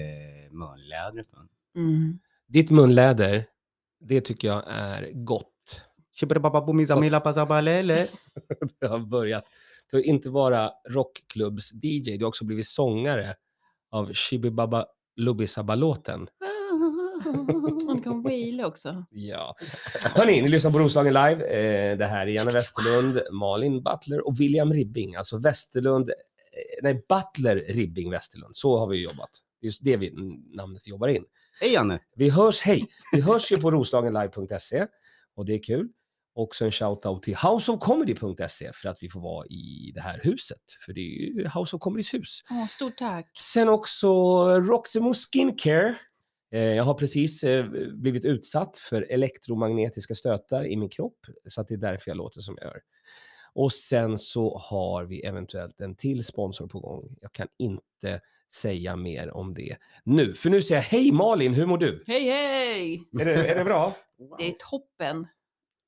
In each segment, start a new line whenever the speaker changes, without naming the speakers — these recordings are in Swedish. eh, munlädret. va?
Mm.
Ditt munläder, det tycker jag är gott.
Shibri-bababumizamilapazabalele.
Du har börjat. Du har inte bara rockklubbs-DJ, du har också blivit sångare av Shibibaba Lubisabalåten.
Hon kan waila också.
Ja. Hörni, ni lyssnar på Roslagen live. Eh, det här är Janne Westerlund, Malin Butler och William Ribbing. Alltså Westerlund, eh, nej Butler Ribbing Westerlund. Så har vi jobbat. Det är Just det vi, namnet vi jobbar in.
Hej Janne!
Vi hörs, hej! Vi hörs ju på roslagenlive.se och det är kul. Också en shoutout till houseofcomedy.se för att vi får vara i det här huset. För det är ju House of Comedys hus.
Åh, stort tack.
Sen också Roximo Skincare. Eh, Jag har precis eh, blivit utsatt för elektromagnetiska stötar i min kropp, så att det är därför jag låter som jag gör. Och sen så har vi eventuellt en till sponsor på gång. Jag kan inte säga mer om det nu, för nu säger jag hej Malin, hur mår du?
Hej, hej!
Är det, är det bra?
Det är toppen,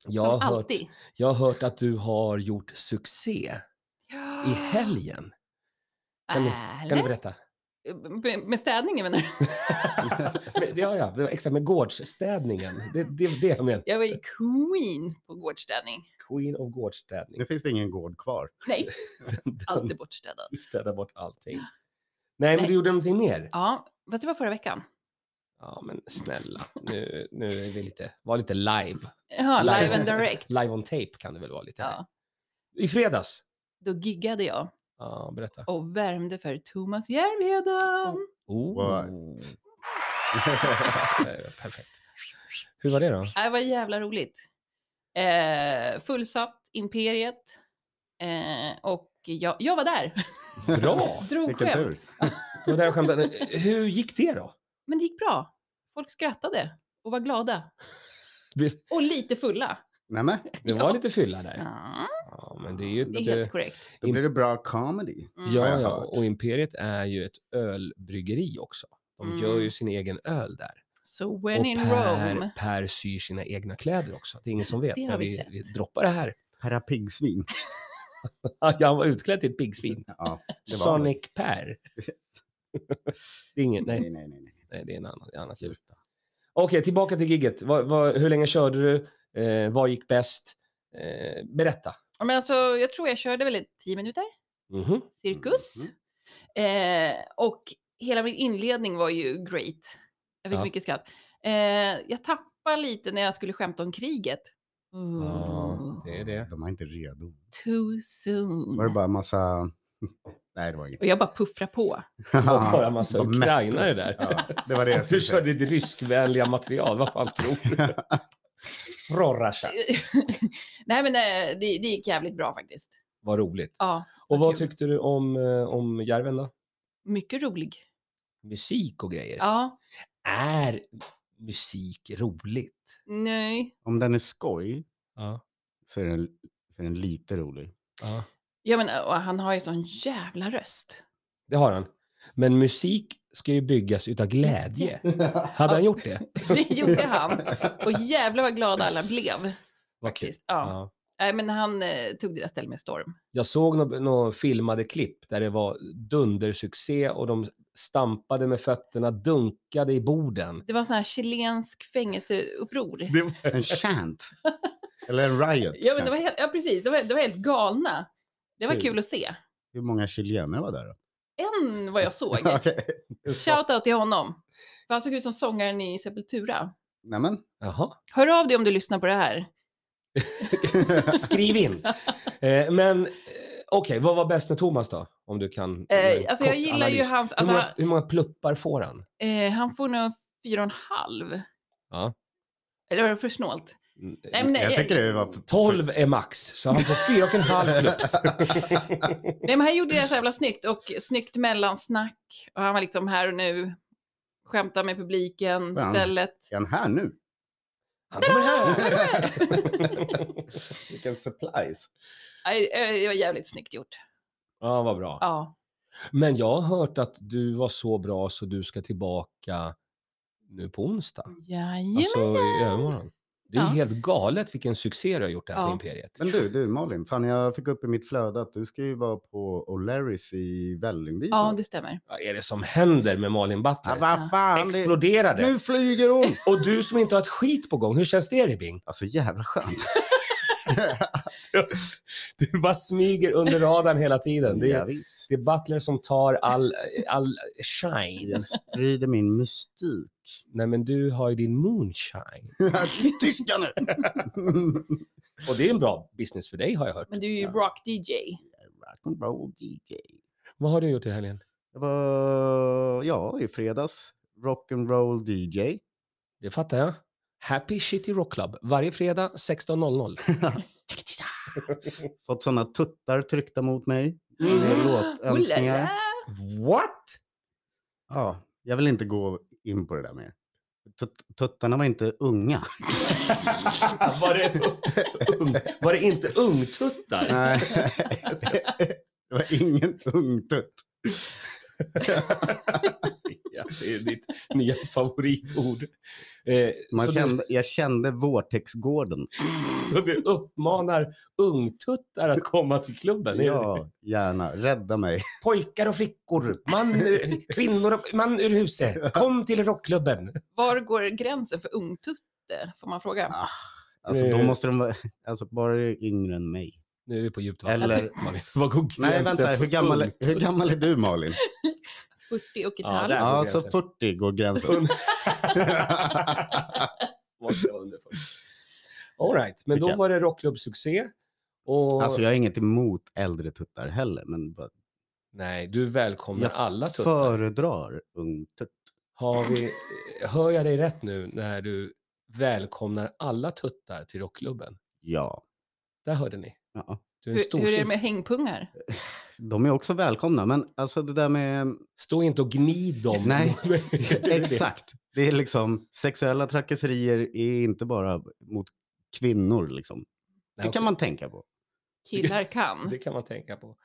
Jag
som
har, hört,
alltid.
jag har hört att du har gjort succé i helgen. Kan du, kan du
Ah. Eller?
berätta?
Med- Eh, Med städningen menar du?
Det har jag, det var exakt med gårdsstädningen. Det är det, det jag menar.
Jag var ju queen på gårdsstädning.
Queen of gårdsstädning.
Nu finns det ingen gård kvar.
Nej, allt är
Den
bortstädat.
Städa bort allting. Nej, men
Nej.
du gjorde någonting mer.
Ja, fast det var förra veckan.
Ja, men snälla. Nu, nu är vi lite, var lite live.
Ja,
Live.
live and direct.
Live on tape kan det väl vara lite.
Ja,
I fredags.
då giggade jag
Ja, berätta.
och värmde för Thomas Järvheden.
Oh.
Wow.
Så, eh, Perfekt. Hur var det då?
Det var jävla roligt. Eh, fullsatt, Imperiet. Eh, och jag, jag var där.
Bra!
Drog
Vilken
skämt.
tur.
Det var där jag skämtade. Hur gick det då?
Men det gick bra. Folk skrattade och var glada.
Det,
Och lite fulla.
Nämen,
det var lite fylla där.
Ja,
Ja, men det är ju
det är
inte-
helt korrekt.
då blir det bra comedy.
Mm.
har
Ja,
jag
ja,
hört.
och Imperiet är ju ett ölbryggeri också. De gör ju sin egen öl där.
So when
och
Mm. in
per,
Rome.
per syr sina egna kläder också. Det är ingen som vet.
Det har
men
vi
vi,
sett.
vi droppar det här.
Herra Piggsvin.
Han var utklädd till ett
Mm.
piggsvin.
Ja, det var
Sonic Per. Det är ingen,
Nej,
nej,
nej, nej. nej.
nej, det är en annan, ett annat djur. Okej, tillbaka till gigget. Vad- vad- hur länge körde du? Eh, vad gick bäst? Eh, berätta.
Ja, Men alltså, jag tror jag körde väl i tio minuter,
Mhm.
cirkus.
Mhm.
Eh, och hela min inledning var ju great. Jag fick
Ja.
mycket skratt. Eh, jag tappade lite när jag skulle skämta om kriget.
Ja, det är det.
De var inte redo.
Too soon.
Var det bara massa... Nej, det var inget.
Och jag bara puffrar på.
Det var bara en massa
De mätte.
ukrainare där.
Ja, det var det jag
Du
skulle säga.
körde ditt ryskvänliga material. Vad fan tror du? Prorrasha.
Nej men eh, det, det gick jävligt bra faktiskt.
Vad roligt.
Ja,
Och vad
kul.
tyckte du om, eh, om Järven då?
mycket rolig.
Musik och grejer.
Ja,
Är musik roligt?
nej.
Om den är skoj
Ja.
så är den, så är den lite rolig.
ja.
Ja men och han har ju sån jävla röst.
Det har han. Men musik ska ju byggas utav glädje. Hade han gjort det?
Det gjorde han. Och jävlar vad glada alla blev.
Vad kul.
Faktiskt. Ja.
Ja.
Nej, men han eh, tog det där stället med storm.
Jag såg några nå filmade klipp där det var dundersuccé och de stampade med fötterna, dunkade i borden.
Det var sån här chilensk fängelseuppror.
En chant. Eller en riot.
Ja, men
kanske.
det var helt, ja precis, det var, det var helt galna. Det var
Kul.
kul, att se.
Hur många chilenare var där då?
En vad jag såg.
Okej.
Shoutout till honom. För han såg ut som sångaren i Sepultura.
Nämen.
Jaha.
Hör av dig om du lyssnar på det här. Eh,
Skriv in. Eh, men eh, okej, vad var bäst med Thomas då? Om du kan. göra en
Eh, alltså jag
kort
gillar ju
analys.
hans...
Hur
Alltså,
många, hur många pluppar får han?
eh, han får nog fyra och en halv.
Ja. Mm,
Eller var det för snålt? Nej, men-
Jag tycker det var...
12 är max, så han får fyra och en halv klubs.
Nej, men han gjorde det så jävla snyggt och snyggt mellansnack. Och han var liksom här och nu. Skämtade med publiken
Fan.
istället.
Är han här nu?
Han kommer här!
Vilken supplies.
Nej, eh, Det var jävligt snyggt gjort.
Ja, vad bra.
Ja.
Men jag har hört att du var så bra så du ska tillbaka nu på onsdag.
Jajamän. Alltså,
Alltså i övermorgon. Det är ju
Ja.
helt galet vilken succé du har gjort här på
Ja.
Imperiet.
Men du, du Malin, fan jag fick upp i mitt flöde att du ska ju vara på O'Larrys i Vällingby.
Ja,
snart.
det stämmer.
Vad är det som händer med Malin
ja,
Butler?
vad fan, det...
Exploderade!
nu flyger hon!
Och du som inte har ett skit på gång, hur känns det Ribbing?
Alltså jävla skönt.
Du bara smyger under radarn hela tiden. Det
ja,
är,
visst.
det är Butler som tar all, all shine.
Jag sprider min mystik.
Nej men du har ju din moonshine.
Tyska nu!
Och det är en bra business för dig har jag hört.
Men du är ju
Ja.
rock-DJ.
Rock'n'roll DJ.
Vad har du gjort i helgen?
Det var, ja, i fredags. Rock'n'roll DJ.
Det fattar jag. Happy City Rock Club, varje fredag 16.00.
Fått sådana tuttar tryckta mot mig.
Mm.
Med låtönskningar.
Olala.
What?
Ja, jag vill inte gå in på det där mer. Tut- Tuttarna var inte unga.
var, det ung, var det inte ungtuttar?
Nej. Det var ingen ung tutt.
Ja, det är ditt nya favoritord. Eh,
Man
så,
kände, jag kände Vortexgården.
du, så du uppmanar ungtuttar att komma till klubben? Är det-
Ja, gärna. Rädda mig.
Pojkar och flickor, man, eh, kvinnor och man ur huset. Kom till rockklubben.
Var går gränsen för ungtutte? Får man fråga.
Ah, Alltså, då
Eh.
måste de vara, alltså bara det är yngre än mig.
Nu är vi på djupt vatten.
Eller-
Malin, Vad går gränsen
Nej, vänta,
för
hur gammal,
ung?
hur gammal är du Malin?
40 och ett
Ja,
halvt.
där.
Ja,
går
så
gränsen.
40 går gränsen.
Un- Måste vara under 40. All right, men
Tycker
då
jag.
var det rockklubbsuccé. Och...
Alltså jag är inget emot äldre tuttar heller, men bara,
Nej, du välkomnar
jag
alla tuttar.
föredrar ung tutt.
Har vi... Hör jag dig rätt nu när du välkomnar alla tuttar till rockklubben?
Ja.
Där hörde ni.
ja.
Du är en
Hur,
stor,
hur är det med hängpungar?
De är också välkomna, men alltså det där med...
Stå inte och gnid dem.
Nej,
Det är det.
Exakt. Det är liksom, sexuella trakasserier är inte bara mot kvinnor liksom. Det
Nej,
kan
okej.
man tänka på.
Killar kan.
Det kan man tänka på.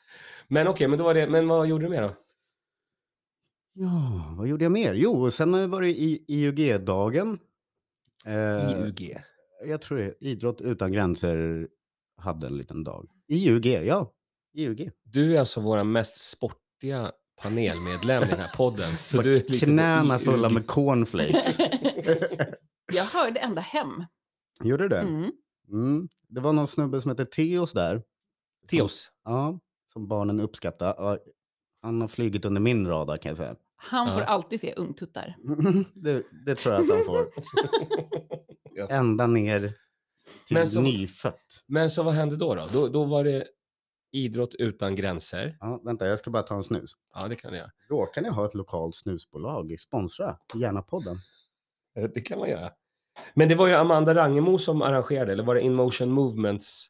Men okej, men då var det... Men vad gjorde du mer då?
Ja, vad gjorde jag mer? Jo, och sen har jag varit i IUG-dagen. Eh,
IUG.
jag tror det. Idrott utan gränser hade en liten dag. IUG, ja. IUG.
Du är alltså vår mest sportiga panelmedlem i den här podden. Så
Bara
du är lite på
knäna fulla
IUG.
med cornflakes.
Jag hörde ända hem.
Gjorde du det? Mm.
Mm.
Det var någon snubbe som hette Theos där.
Teos.
Ja, som barnen uppskattar. Ja, han har flugit under min radar kan jag säga.
Han får
Ja.
alltid se ungtuttar.
Det, det tror jag att han får.
Ja.
Ända ner
Men
till
så-
nyfött.
Men så vad hände då? Då, då, då var det idrott utan gränser.
Ja, vänta, jag ska bara ta en snus.
Ja, det kan jag.
Då kan jag ha ett lokalt snusbolag. Sponsra gärna podden.
Eh, Det kan man göra. Men det var ju Amanda Rangemo som arrangerade, eller var det Inmotion Movements?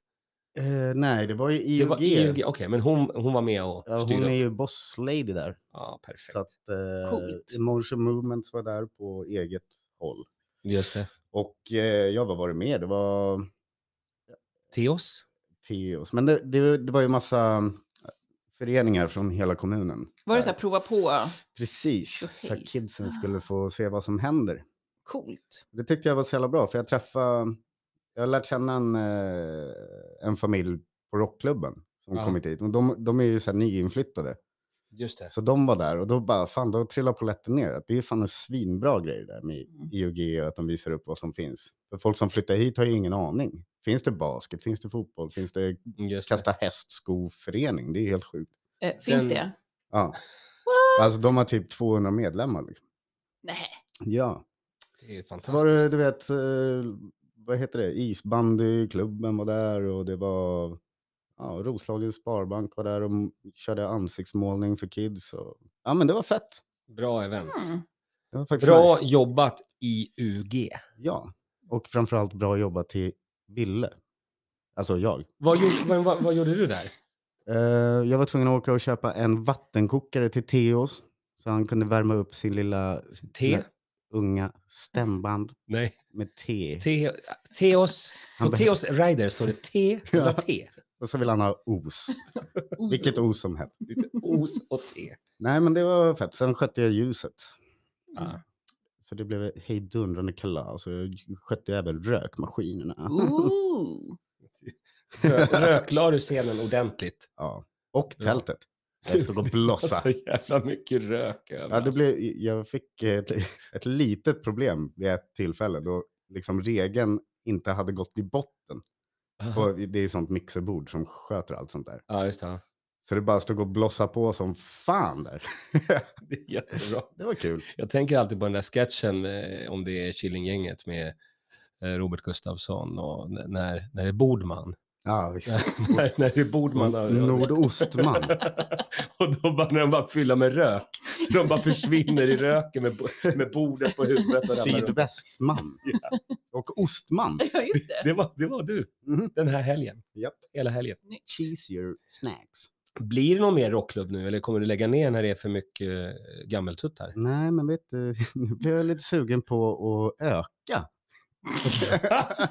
Eh, nej, det var ju IUG.
Det var IUG. Okej, men hon, hon var med och
Ja, hon
styrde.
är
upp.
ju boss lady där.
Ja,
Så
perfekt.
att eh,
Coolt.
Emotion Movements var där på eget håll.
Just det.
Och eh, jag var varit med, det var
Teos.
Theos. Men det, det, det var ju massa eh, föreningar från hela kommunen.
Var det
där.
så här prova på? eh,
Precis, så
Tjohej.
att kidsen skulle få se vad som händer.
Coolt.
Det tyckte jag var så jävla bra, för jag träffade, jag har lärt känna en, eh, en familj på rockklubben som
Ja.
kommit hit. Men de, de är ju så här nyinflyttade.
Just det.
Så de var där och då bara, fan då trillar polletten ner. Att Det är fan en svinbra grej där med
Mm.
IOG och att de visar upp vad som finns. För folk som flyttar hit har ju ingen aning. Finns det basket? Finns det fotboll? Finns det
mm, Just det.
kasta hästskoförening? Det är helt sjukt.
Eh, finns
Den-
det?
Ja. Alltså de har typ 200 medlemmar. Liksom.
Nej.
Ja.
det är
Så var det,
fantastiskt.
du vet, eh, vad heter det, isbandyklubben var där och det var ja, Roslagens Sparbank var där och m- körde ansiktsmålning för kids. Och, ja men det var fett.
Bra event.
Mm.
Det var faktiskt
Bra
nice.
jobbat IUG.
Ja, och framförallt bra jobbat till Ville. Alltså jag.
Vad, gjorde- vad, vad, vad gjorde du där?
Eh, jag var tvungen att åka och köpa en vattenkokare till Theos så han kunde värma upp sin lilla
Te?
Nej. unga stämband
Nej.
med te.
Te, teos. På
Han behöver-
Teos Rider står det te, det var
Ja.
te.
Och så vill han ha os, vilket os som helst.
Os och te.
Nej men det var fett. Sen skötte jag ljuset.
Ja.
Mm. Så det blev ett hejdundrande kalas och jag skötte även rökmaskinerna.
Ooh.
Rök- Rökla du scenen ordentligt?
Ja.
Alltså,
Och
Ja.
tältet. Jag stod och
Så
blossade.
jävla mycket rök överallt.
Ja, det blev, jag fick ett, ett litet problem vid ett tillfälle då liksom regeln inte hade gått i botten.
Aha.
Och det är ju sånt mixerbord som sköter allt sånt där.
Ja, just det. ja.
Så det bara stod och blossa på som fan där.
Det är jättebra.
Det var kul.
Jag tänker alltid på den där sketchen eh, om det är Killinggänget med eh, Robert Gustafsson och n- när, när det är Bordman.
Ja, visst.
när, när det är Bordman. och-
Nordostman.
och då bara, när de bara fyller med rök. Så de bara försvinner i röken med, bo- med bordet på huvudet. Och ramlar runt.
Sydvästman. Och ostman.
Ja, just det.
det, var, det var du
Mhm.
den här helgen.
Japp.
Hela helgen.
Snyggt.
Cheese your snacks.
Blir det någon mer rockklubb nu eller kommer du lägga ner när det är för mycket eh, gammeltuttar?
Nej, men vet du, nu blir jag lite sugen på att öka.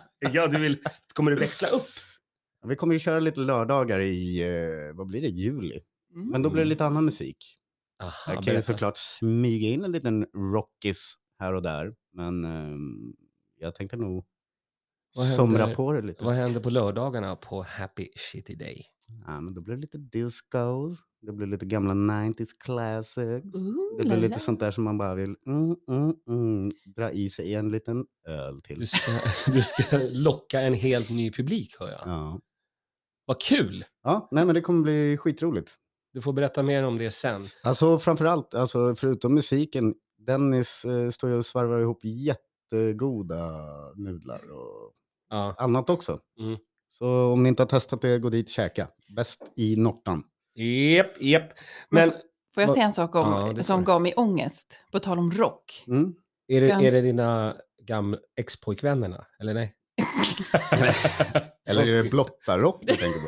ja, du vill, kommer du växla upp?
Vi kommer ju köra lite lördagar i, eh, vad blir det, juli.
Mm.
Men då blir det
Mm.
lite annan musik.
Aha,
Jag kan ju
berätta.
såklart smyga in en liten rockis här och där, men ehm, jag tänkte nog
Vad händer-
somra på det lite.
Vad händer på lördagarna på Happy Shitty Day?
Ja, men då blir det lite discos, det blir lite gamla 90s classics.
Ooh,
Det blir
la,
lite
la.
sånt där som man bara vill mm, mm, mm, dra i sig en liten öl till.
Du ska, du ska locka en helt ny publik, hör jag.
Ja.
Vad kul!
ja, nej men det kommer bli skitroligt.
Du får berätta mer om det sen.
Alltså framförallt, alltså, förutom musiken, Dennis eh, står ju och svarvar ihop jättegoda nudlar och
Ja,
annat också.
Mm.
Så om ni inte har testat det, gå dit och käka. Bäst i Nortan.
jep, jep. Men
Får jag
Vad-
säga en sak om,
Ja, det får
som
du.
gav mig ångest? På tal om rock.
Mm.
är det, är
Vems-
det dina gamla ex-pojkvännerna, eller nej?
Eller är det blottarock du tänker på?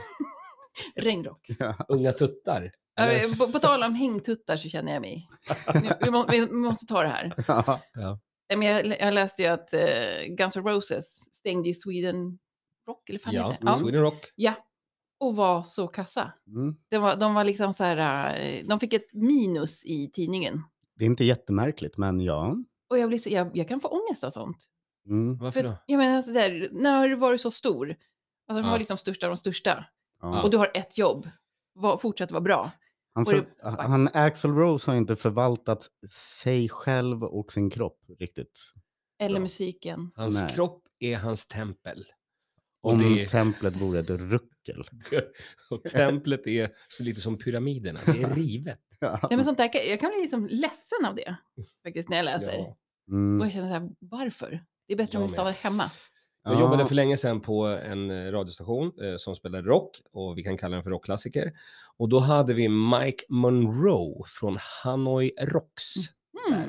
Regnrock.
Unga tuttar? Eller?
Äh, På, på tal om hängtuttar så känner jag mig... Nu, vi, må, vi måste ta det här.
Ja.
Nej, men jag, jag läste ju att eh, Guns N' Roses stängde ju Sweden Rock, eller fan
Ja,
heter det? Ja.
Sweden Rock.
Och var så kassa.
Mm.
Det var, de var liksom så här, eh, de fick ett minus i tidningen.
Det är inte jättemärkligt, men ja.
Och jag, blir så, jag, jag kan få ångest av sånt.
Mm.
Varför
För,
då?
jag menar, så där, när har du varit så stor? Alltså de
Ja.
var liksom största av de största.
Ja.
Och du har ett jobb. Var, fortsätt vara bra.
Han,
Och
för,
det-
han, Axel Rose har inte förvaltat sig själv och sin kropp riktigt.
Eller
Bra.
musiken.
Hans
Nej.
kropp är hans tempel. Och,
Om
det,
templet vore ett ruckel.
och templet är så lite som pyramiderna, det är rivet.
Nej, men sånt där, kan- jag kan bli liksom ledsen av det. Faktiskt när jag läser.
Ja.
Och
Mm.
jag känner så här, varför? Det är bättre om
Jag
ni
med.
stannar hemma.
Jag
Ja.
jobbade för länge sedan på en eh, radiostation eh, som spelade rock och vi kan kalla den för rockklassiker. Och då hade vi Mike Monroe från Hanoi Rocks,
Mm.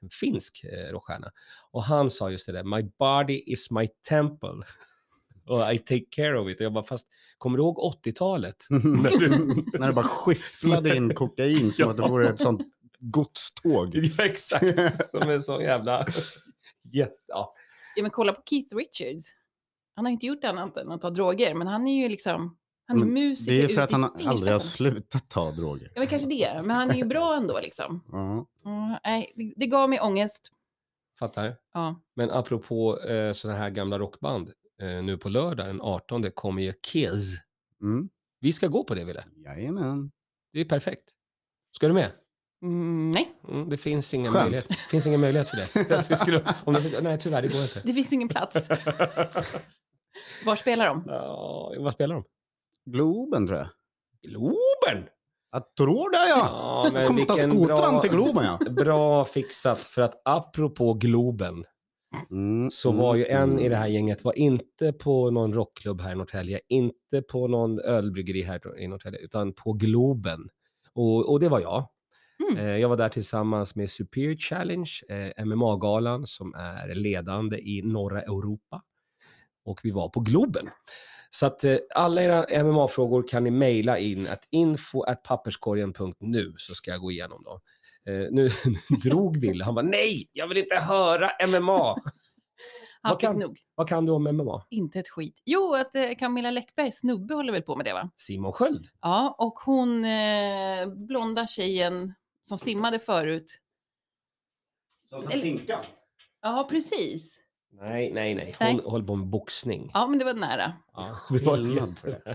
en finsk eh, rockstjärna. Och han sa just det där, My body is my temple. Och I take care of it. Och jag bara, fast kommer du ihåg 80-talet? När du-
När du bara skyfflade in kokain som
Ja.
att det vore ett sånt godståg.
Ja, exakt. Som är så jävla... Jätte... Ja.
Ja, men kolla på Keith Richards. Han har inte gjort annat än att ta droger, men han är ju liksom... Han är
Men
musiker
Det är
ut
för att
i
han aldrig har
fingerspetsarna.
slutat ta droger.
Ja, men kanske det. Men han är ju bra ändå liksom.
Ja.
Ja, nej, det, det gav mig ångest.
Fattar.
Ja.
Men apropå eh, sådana här gamla rockband, eh, nu på lördag den 18 kommer ju Kiss.
Mm.
Vi ska gå på det, Wille.
Jajamän.
Det är perfekt. Ska du med?
Mm, nej,
Mm, det finns ingen
Skönt.
möjlighet. Det finns ingen möjlighet för dig. Jag skulle, om jag, skulle- nej, tyvärr, det går inte.
det finns ingen plats. Var spelar de?
Ja, vad spelar de?
Globen tror jag.
Globen!
Jag tror det ja.
Ja,
Jag kommer ta skotran till Globen ja.
Bra fixat, för att apropå Globen
Mm,
så
mm,
var ju en i det här
mm.
gänget, var inte på någon rockklubb här i Norrtälje, inte på någon ölbryggeri här i Norrtälje, utan på Globen. Och, och det var jag.
Mm.
Eh, Jag var där tillsammans med Superior Challenge, eh, MMA-galan som är ledande i norra Europa. Och vi var på Globen. Så att eh, alla era MMA-frågor kan ni mejla in att info at papperskorgen.nu så ska jag gå igenom dem. Eh, nu drog Wille, han var nej, jag vill inte höra MMA.
Han
Vad
fick
kan-
nog
Vad kan du om MMA?
inte ett skit. Jo, att eh, Camilla Läckbergs snubbe håller väl på med det, va?
Simon Sköld.
Ja, och hon eh, blonda tjejen som simmade förut.
Som
Eller-
Zinkan.
Ja, precis.
Nej, nej, nej.
Nej.
Hon håller på med boxning.
Ja, men det var nära.
Ja,
Det var
skillnad på det.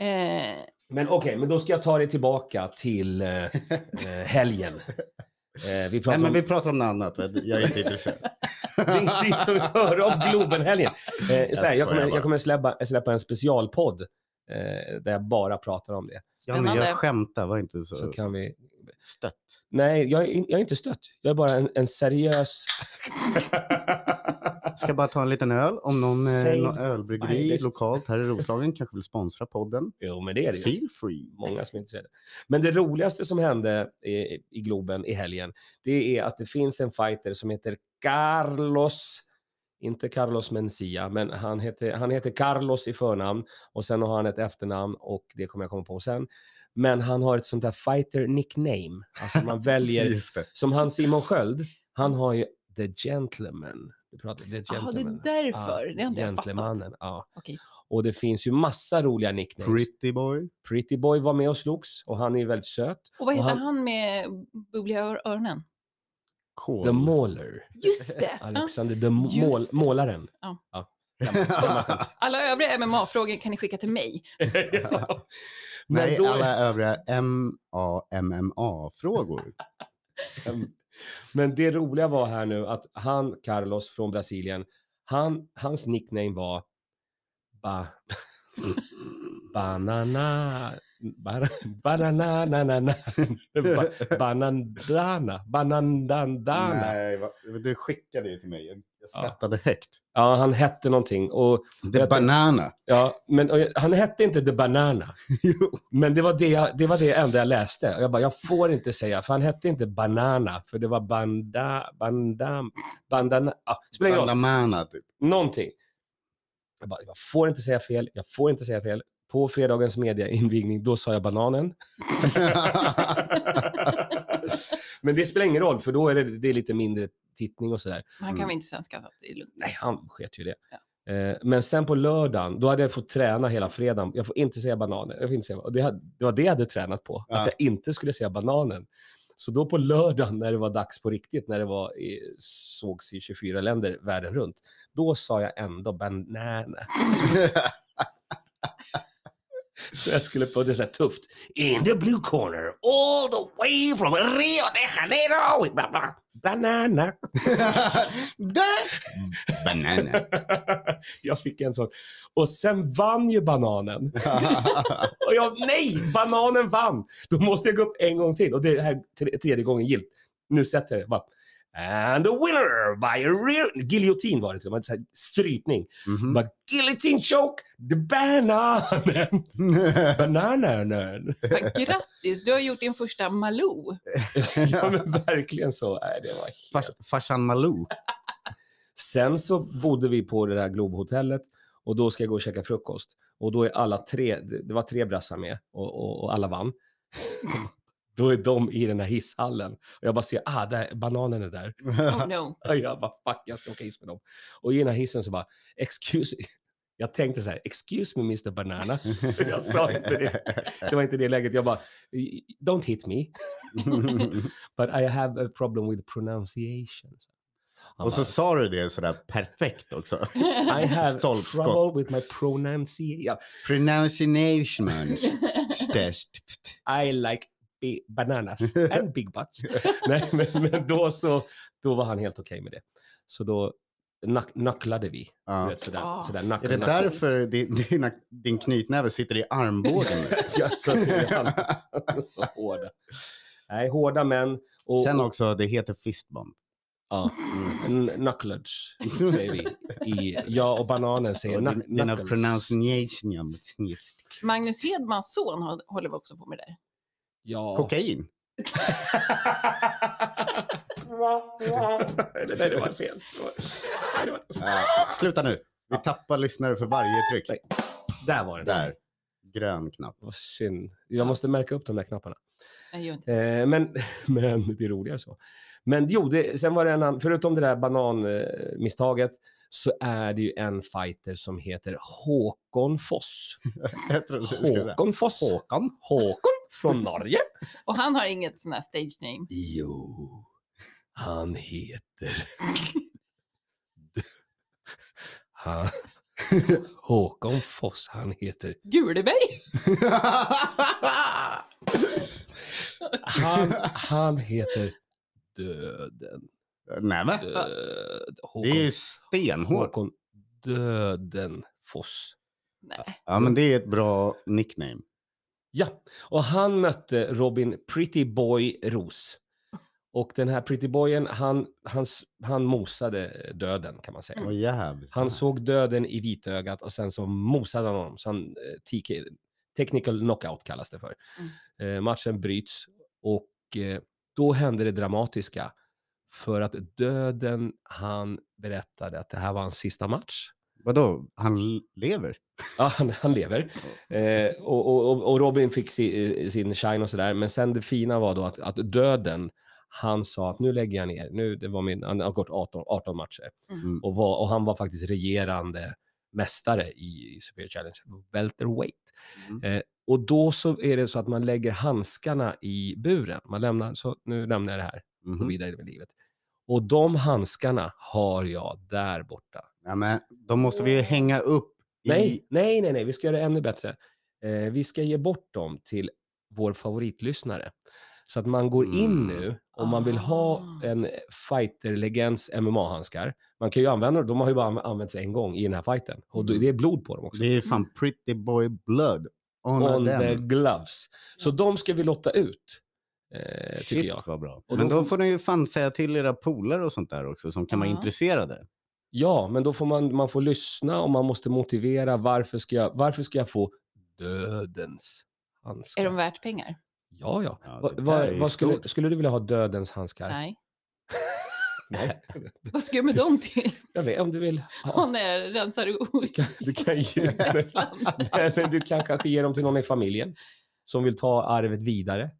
Eh,
Men okej, men då ska jag ta dig tillbaka till eh, eh, helgen. Eh, vi
Nej,
pratar
men
om...
vi pratar om något annat. va? Jag är inte intresserad.
Det är det är som vi hör om Globenhelgen. Eh,
Jag
så här, jag, kommer,
skojar bara.
jag kommer släppa, släppa en specialpodd eh, där jag bara pratar om det.
Janne,
Spännande.
jag skämtar. Var inte så,
Så kan vi...
stött.
Nej, jag, är in- jag är inte stött. Jag är bara en, en seriös...
Ska bara ta en liten öl. Om någon,
Save
eh, någon
my
ölbryggeri
list.
lokalt här i Roslagen kanske vill sponsra podden.
Jo, men det är det ju.
Feel free.
Många som är intresserade. Men det roligaste som hände i, i Globen i helgen, det är att det finns en fighter som heter Carlos, inte Carlos Mencia, men han heter, han heter Carlos i förnamn och sen har han ett efternamn och det kommer jag komma på sen. Men han har ett sånt där fighter nickname, alltså man väljer,
Just det.
som han Simon Sköld, han har ju The Gentleman. Du pratar, the
ja, det
gentleman.
är därför. det har inte jag fattat.
Gentlemannen, ja.
Okej.
Och det finns ju massa roliga nicknames.
Pretty boy.
Pretty Boy var med och slogs och han är ju väldigt söt.
Och vad
Och
heter
han-
han, med bubbliga ör- öronen?
Cool.
The Mauler.
Just det! Ja.
Alexander the Mo-
Just
mål,
det.
Målaren.
Ja.
Gammal- gammal skämt.
Alla övriga MMA-frågor kan ni skicka till mig.
Ja. Men
Nej,
då-
alla övriga MAMMA-frågor.
Men det roliga var här nu att han, Carlos från Brasilien, han, hans nickname var ba, Banana... Ba, banana, banana, ba, banandana, banandandana.
Nej, va- du skickade ju till mig. Jag skrattade högt.
Ja, han hette någonting och
The
Jag-
banana.
Ja, men och jag, han hette inte The Banana.
Jo.
Men det var det, jag, det var det enda jag läste. Och jag bara, jag får inte säga, för han hette inte Banana, för det var Banda... Banda... Bandana... Ah, spelar ingen roll.
Banamana, typ.
Någonting. Jag bara, jag får inte säga fel, jag får inte säga fel. På fredagens mediainvigning, då sa jag bananen. men det spelar ingen roll, för då är det, det är lite mindre tittning och sådär.
Men Han kan
Mm.
väl inte svenska så att det är lugnt.
Nej, han sket ju i det. Eh, Men sen på lördagen, då hade jag fått träna hela fredagen. Jag får inte säga bananen. Jag får inte säga, och det, hade, det var det jag hade tränat på,
Ja.
att jag inte skulle säga bananen. Så då på lördagen när det var dags på riktigt, när det var i, sågs i 24 länder världen runt, då sa jag ändå banana. Så jag skulle på det så här tufft. In the blue corner, all the way from Rio de Janeiro! Bla, bla, banana!
The banana.
jag fick en sån. Och sen vann ju bananen. Och jag, nej, bananen vann. Då måste jag gå upp en gång till. Och det här är tre- tredje gången gilt. Nu sätter jag det. Bara, And the winner by a rear... Giljotin var det. Det var en sån här strypning.
Mhm.
Bara, guillotine choke, the bananen. Bananen.
Men Grattis, du har gjort din första Malou.
ja men verkligen så. Nej, det var helt...
Fars, farsan Malou.
Sen så bodde vi på det där Globhotellet och då ska jag gå och käka frukost. Och då är alla tre, det det var tre brassar med och, och, och alla vann. då är de i den här hisshallen. Och jag bara ser, ah, där, bananen är där.
Oh no.
Och jag bara, fuck, jag ska åka hiss med dem. Och i den här hissen så bara, excuse... Jag tänkte så här, excuse me Mr. Banana. Jag sa inte det. Det var inte det läget. Jag bara, don't hit me, but I have a problem with pronunciation. Han
Och så
bara,
sa du det sådär perfekt också.
I have
Stolpskott.
trouble with my pronunciation.
Pronunciation. Stest.
I like bi- bananas and big butts. Nej, men, men då så, då var han helt okej med det. Så då nack- nacklade vi. Du
Ja.
vet, sådär,
Ah.
sådär, nacka,
Är det
nacka.
därför din, dina, din knytnäve sitter i armbågen? nu?
Jag sa till honom, så hårda. Nej, hårda män. Och,
Sen
och,
också, det heter fistbump.
ja, mm, n- knucklers säger vi. I, jag och bananen säger
Och din-
nack-
Dina
knuckles.
pronunciation. snips.
Magnus Hedmans son har- håller också på med det där.
Ja.
Kokain.
det, nej, det var fel. Det var, nej, det var,
Ja, sluta nu. Vi tappar lyssnare för varje tryck.
där var det.
Där. Grön knapp.
Vad synd. Jag måste märka upp de där knapparna.
Jag gör inte.
Eh, men, men det är roligare så. Men jo, det, sen var det en annan, förutom det där bananmisstaget så är det ju en fighter som heter Håkon Foss.
Jag trodde du skulle säga.
Håkon Foss. Håkon. Håkon från Norge.
Och han har inget sån här stage name.
Jo. Han heter... Han... Håkon Foss, han heter...
Guleberg?
Han, han heter Döden.
Nej, va?
Ah. Död,
Det är ju
Håkon,
stenhårt.
Håkon Döden Foss.
Nej.
Ja, men det är ett bra nickname.
Ja, och han mötte Robin Pretty Boy Ros. Och den här Pretty Boyen, han, han, s- han mosade döden kan man säga.
Åh jävlar.
Han såg döden i vitögat och sen så mosade han honom. Så han, eh, TK, technical knockout kallas det för. Eh, matchen bryts och eh, då hände det dramatiska. För att döden, han berättade att det här var hans sista match.
Vadå, han l- lever? Mm-hmm.
Ja, han, han lever. Eh, och, och- och, och Robin fick si, eh, sin shine och sådär. Men sen det fina var då att, att döden, han sa att nu lägger jag ner. Nu, det var min, han har gått 18, 18 matcher.
Mm.
Och, var, och han var faktiskt regerande mästare i, i Superior Challenge, welterweight.
Mm.
Eh, och då så är det så att man lägger handskarna i buren. Man lämnar, så nu lämnar jag det här Eh, och går
Mhm.
vidare med livet. Och de handskarna har jag där borta.
Ja, men de måste vi ju hänga upp i...
Nej, nej, nej, nej, vi ska göra det ännu bättre. Eh, vi ska ge bort dem till vår favoritlyssnare. Så att man går in
Mm.
nu om man vill ha
Ah.
en fighterlegends MMA-handskar. Man kan ju använda dem, de har ju bara anv- använts en gång i den här fighten. Och då-
Mm.
det är blod på dem också.
Det är fan pretty boy blood. Honor
On
them.
the eh, gloves. Så de ska vi lotta ut, eh,
Shit,
tycker jag.
vad bra.
Och
men
då
då
får-
får ni ju fan säga till era polare och sånt där också som kan vara
Ja.
intresserade.
Ja, men då får man, man får lyssna och man måste motivera varför ska jag, varför ska jag få dödens handskar.
Är de värt pengar?
Ja, ja.
Ja,
Va,
det
va,
där är ju
vad skulle,
stort.
skulle du vilja ha dödens handskar?
Nej.
Nej.
Vad ska jag med dem till?
Jag vet, om du vill.
Och
Ja.
när jag rensar
Du,
olika
kan, du, kan ju,
växlar.
eller du kan kanske ge dem till någon i familjen som vill ta arvet vidare.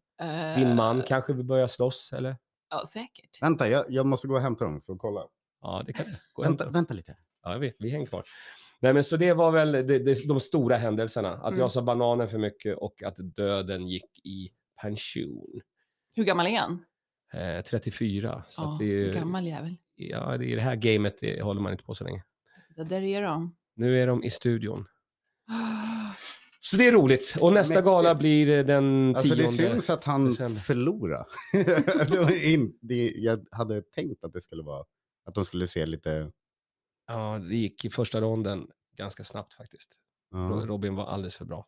Din man kanske vill börja slåss eller?
Eh, Ja, säkert.
Vänta, jag, jag måste gå och hämta dem för att kolla.
Ja, det kan du. Gå och hämta
Vänta,
dem.
vänta lite.
Ja, jag vet, vi hänger kvar. Nej, men så det var väl det, det, de stora händelserna. Att
Mm.
jag sa bananen för mycket och att döden gick i pension.
Hur gammal är han?
Eh, 34. Så
Ja,
att det, är ju-
gammal jävel.
ja, det, i det här gamet det håller man inte på så länge.
Det där är de.
Nu är de i studion. Så det är roligt. Och nästa
Mäktigt.
gala blir eh, den
Alltså
tionde.
det syns att han
december.
förlorade. det var in, det, jag hade tänkt att det skulle vara, att de skulle se lite...
Ja, det gick i första ronden ganska snabbt faktiskt.
Ja.
Robin var alldeles för bra.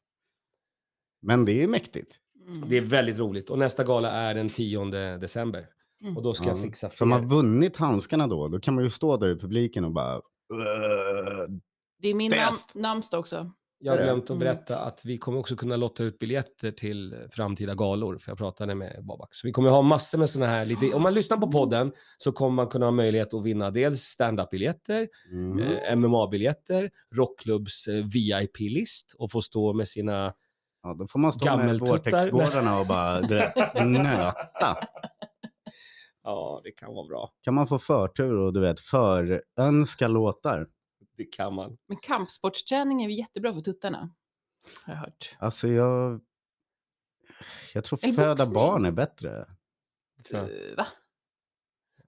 Men det är ju mäktigt.
Mm.
Det är väldigt roligt. Och nästa gala är den 10 december.
Mm.
Och då ska jag
Ja.
fixa
Så har
fler.
vunnit handskarna då, då kan man ju stå där i publiken och bara... Mm.
Det är min
Death.
nam namnsdag också.
Jag har
är det?
glömt att
Mm.
berätta att vi kommer också kunna lotta ut biljetter till framtida galor. För jag pratade med Babak. Så vi kommer ha massor med sådana här. Lite... Om man lyssnar på podden så kommer man kunna ha möjlighet att vinna dels stand-up-biljetter,
Mm.
eh, MMA-biljetter, rockklubbs eh, VIP-list och få stå med sina
Ja, då får man stå med
Gammeltuttar.
Vortexgårdarna och bara du vet, nöta.
Ja, det kan vara bra.
Kan man få förtur och du vet förönska låtar?
Det kan man.
Men kampsportsträning är ju jättebra för tuttarna. Har jag hört.
Alltså jag... Jag tror
Eller
föda
boxning.
barn är bättre.
Tror jag.
Eh, Va?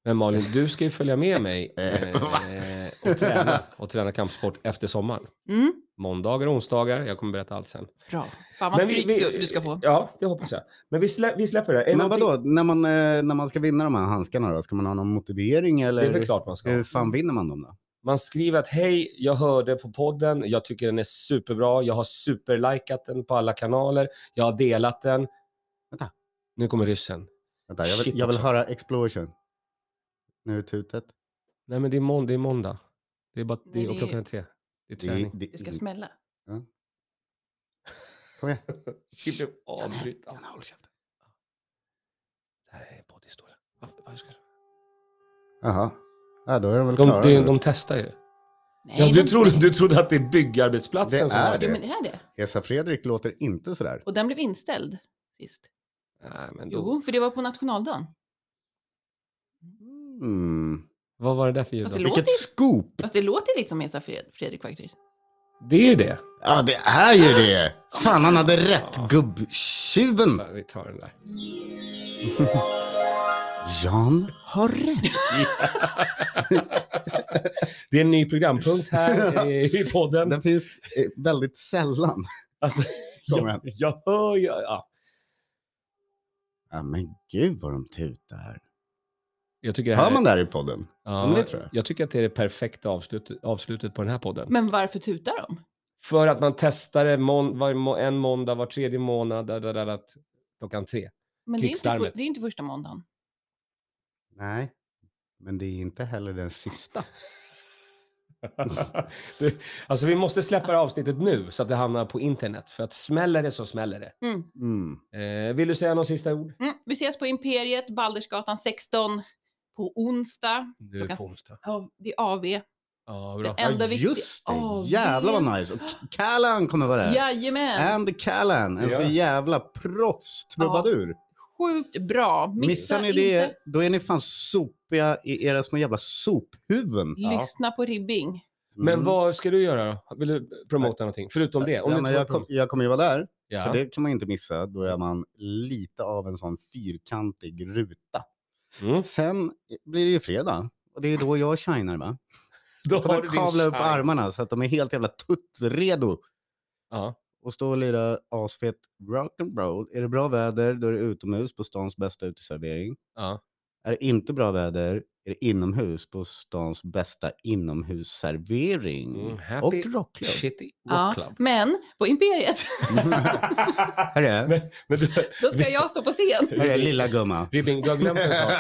Men Malin, du ska ju följa med mig
Va?
eh, och, träna, och träna kampsport efter sommaren.
Mm. Bra.
Måndagar och onsdagar. Jag kommer berätta allt sen.
Fan vad strypslubb du ska få.
Ja, det hoppas jag. Men vi, slä, vi släpper det. Är
Men
det någonting-
vadå, när man, eh, när man ska vinna de här handskarna då? Ska man ha någon motivering
Det är
eller
väl klart man ska. Mm.
hur fan vinner man dem då?
Man skriver att hej, jag hörde på podden. Jag tycker den är superbra. Jag har superlikat den på alla kanaler. Jag har delat den.
Vänta.
Nu kommer ryssen.
Vänta, jag vill,
Shit
jag vill
också.
höra explosion. Nu är tutet.
Nej, men det är, månd- det är måndag. Det är bara, det
Nej,
är, och
det-
klockan är tre. Det är
Det är-
träning.
det-
Det ska smälla.
Kom igen.
Vi blev avbrytna.
Janne, håll käften.
Det här är en poddhistoria. Varför- varför ska jag-
Jaha. Ja, då är de väl
De,
klara.
de,
nu.
de testar ju.
Nej,
Ja, du,
de-
trodde, du trodde att det är byggarbetsplatsen
Det
som
är
har
Jo,
det.
men det är det.
Hesa Fredrik låter inte sådär.
Och den blev inställd sist.
Nej, men då,
Jo, för det var på nationaldagen.
Mm.
Vad var det där för ljud?
Fast
då?
det låter-
Vilket scoop!
Fast det låter lite som Hesa Fred- Fredrik faktiskt.
Det är ju det.
Ja, det är ju det! Fan, han hade rätt, gubbtjuven!
Ja, Vi tar den där.
Jan har rätt.
Det är en ny programpunkt här eh, i podden.
Den finns eh, väldigt sällan.
Alltså,
Kom igen.
jag, jag hör ju... Ja.
Ja, men gud vad de tutar.
Jag tycker det här,
Hör man det här i podden?
Ja,
men det tror jag.
tycker att det är det perfekta avslutet, avslutet på den här podden.
Men varför tutar de?
För att man testar det mån, var, må- en måndag, var tredje månad, där, där, där, där, klockan tre.
Men det är, inte, för-
Krigslarmet.
det är inte första måndagen.
Nej, men det är inte heller den sista.
Det- alltså vi måste släppa det här avsnittet nu så att det hamnar på internet. För att smäller det så smäller det.
Mm.
Mm.
Eh, vill du säga några sista ord?
Mm, vi ses på Imperiet, Baldersgatan 16 på onsdag.
Nu
Klockan-
onsdag.
Ja, Det är AV.
Ja, bra.
Det Enda
ja,
viktiga-
just det.
Åh,
Jävlar
det-
vad nice. Och K- Callan kommer vara där.
Jajamän!
Andy Callan, en så
Ja.
jävla proffstrubadur.
Sjukt bra. Missa
Missar ni
inte.
det, då är ni fan sopiga i era små jävla sophuvuden.
Ja.
Lyssna på Ribbing.
Men vad ska du göra då? Vill du promota någonting? Förutom
Mm.
det?
ja,
du
men
inte
jag,
får
kom, jag kommer ju vara där,
promota-
för
ja.
det kan man ju inte missa. Då är man lite av en sån fyrkantig ruta.
Mm.
Sen blir det ju fredag. Och det är då jag shinar va?
Då
Jag kommer
din
kavla upp
shine.
armarna så att de är helt jävla tuttredo.
Ja.
och stå och lira asfet rock'n'roll. Är det bra väder, då är det utomhus på stans bästa uteservering.
Ja.
Är det inte bra väder, är det inomhus på stans bästa inomhusservering.
Mm, happy
och rockklubb.
Shitty
Ja,
Rock Club.
men på Imperiet,
Hörru,
men, men du,
då ska jag stå på scen.
hörru lilla gumma.
Ribbing, du har glömt en sak.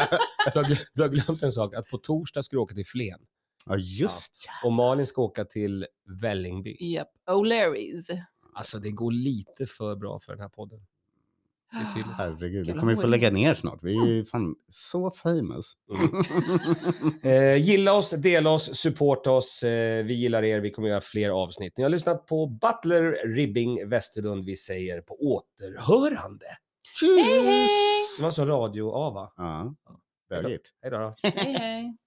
Du har, glö- du har glömt en sak. Att på torsdag ska du åka till Flen.
Ja, just ja.
Och Malin ska åka till Vällingby.
Japp, O'Larrys.
Alltså det går lite för bra för den här podden. är tydligt.
Herregud, vi
Jävla
kommer ju få
hårding.
lägga ner snart. Vi är ju fan så famous.
Mm. Eh, gilla oss, dela oss, supporta oss. Eh, vi gillar er. Vi kommer göra fler avsnitt. Ni har lyssnat på Butler, Ribbing, Westerlund. Vi säger på återhörande.
Hej, hej!
alltså Det var så radio-ava.
Ja, bögigt.
Hej då. då.
hej, hej.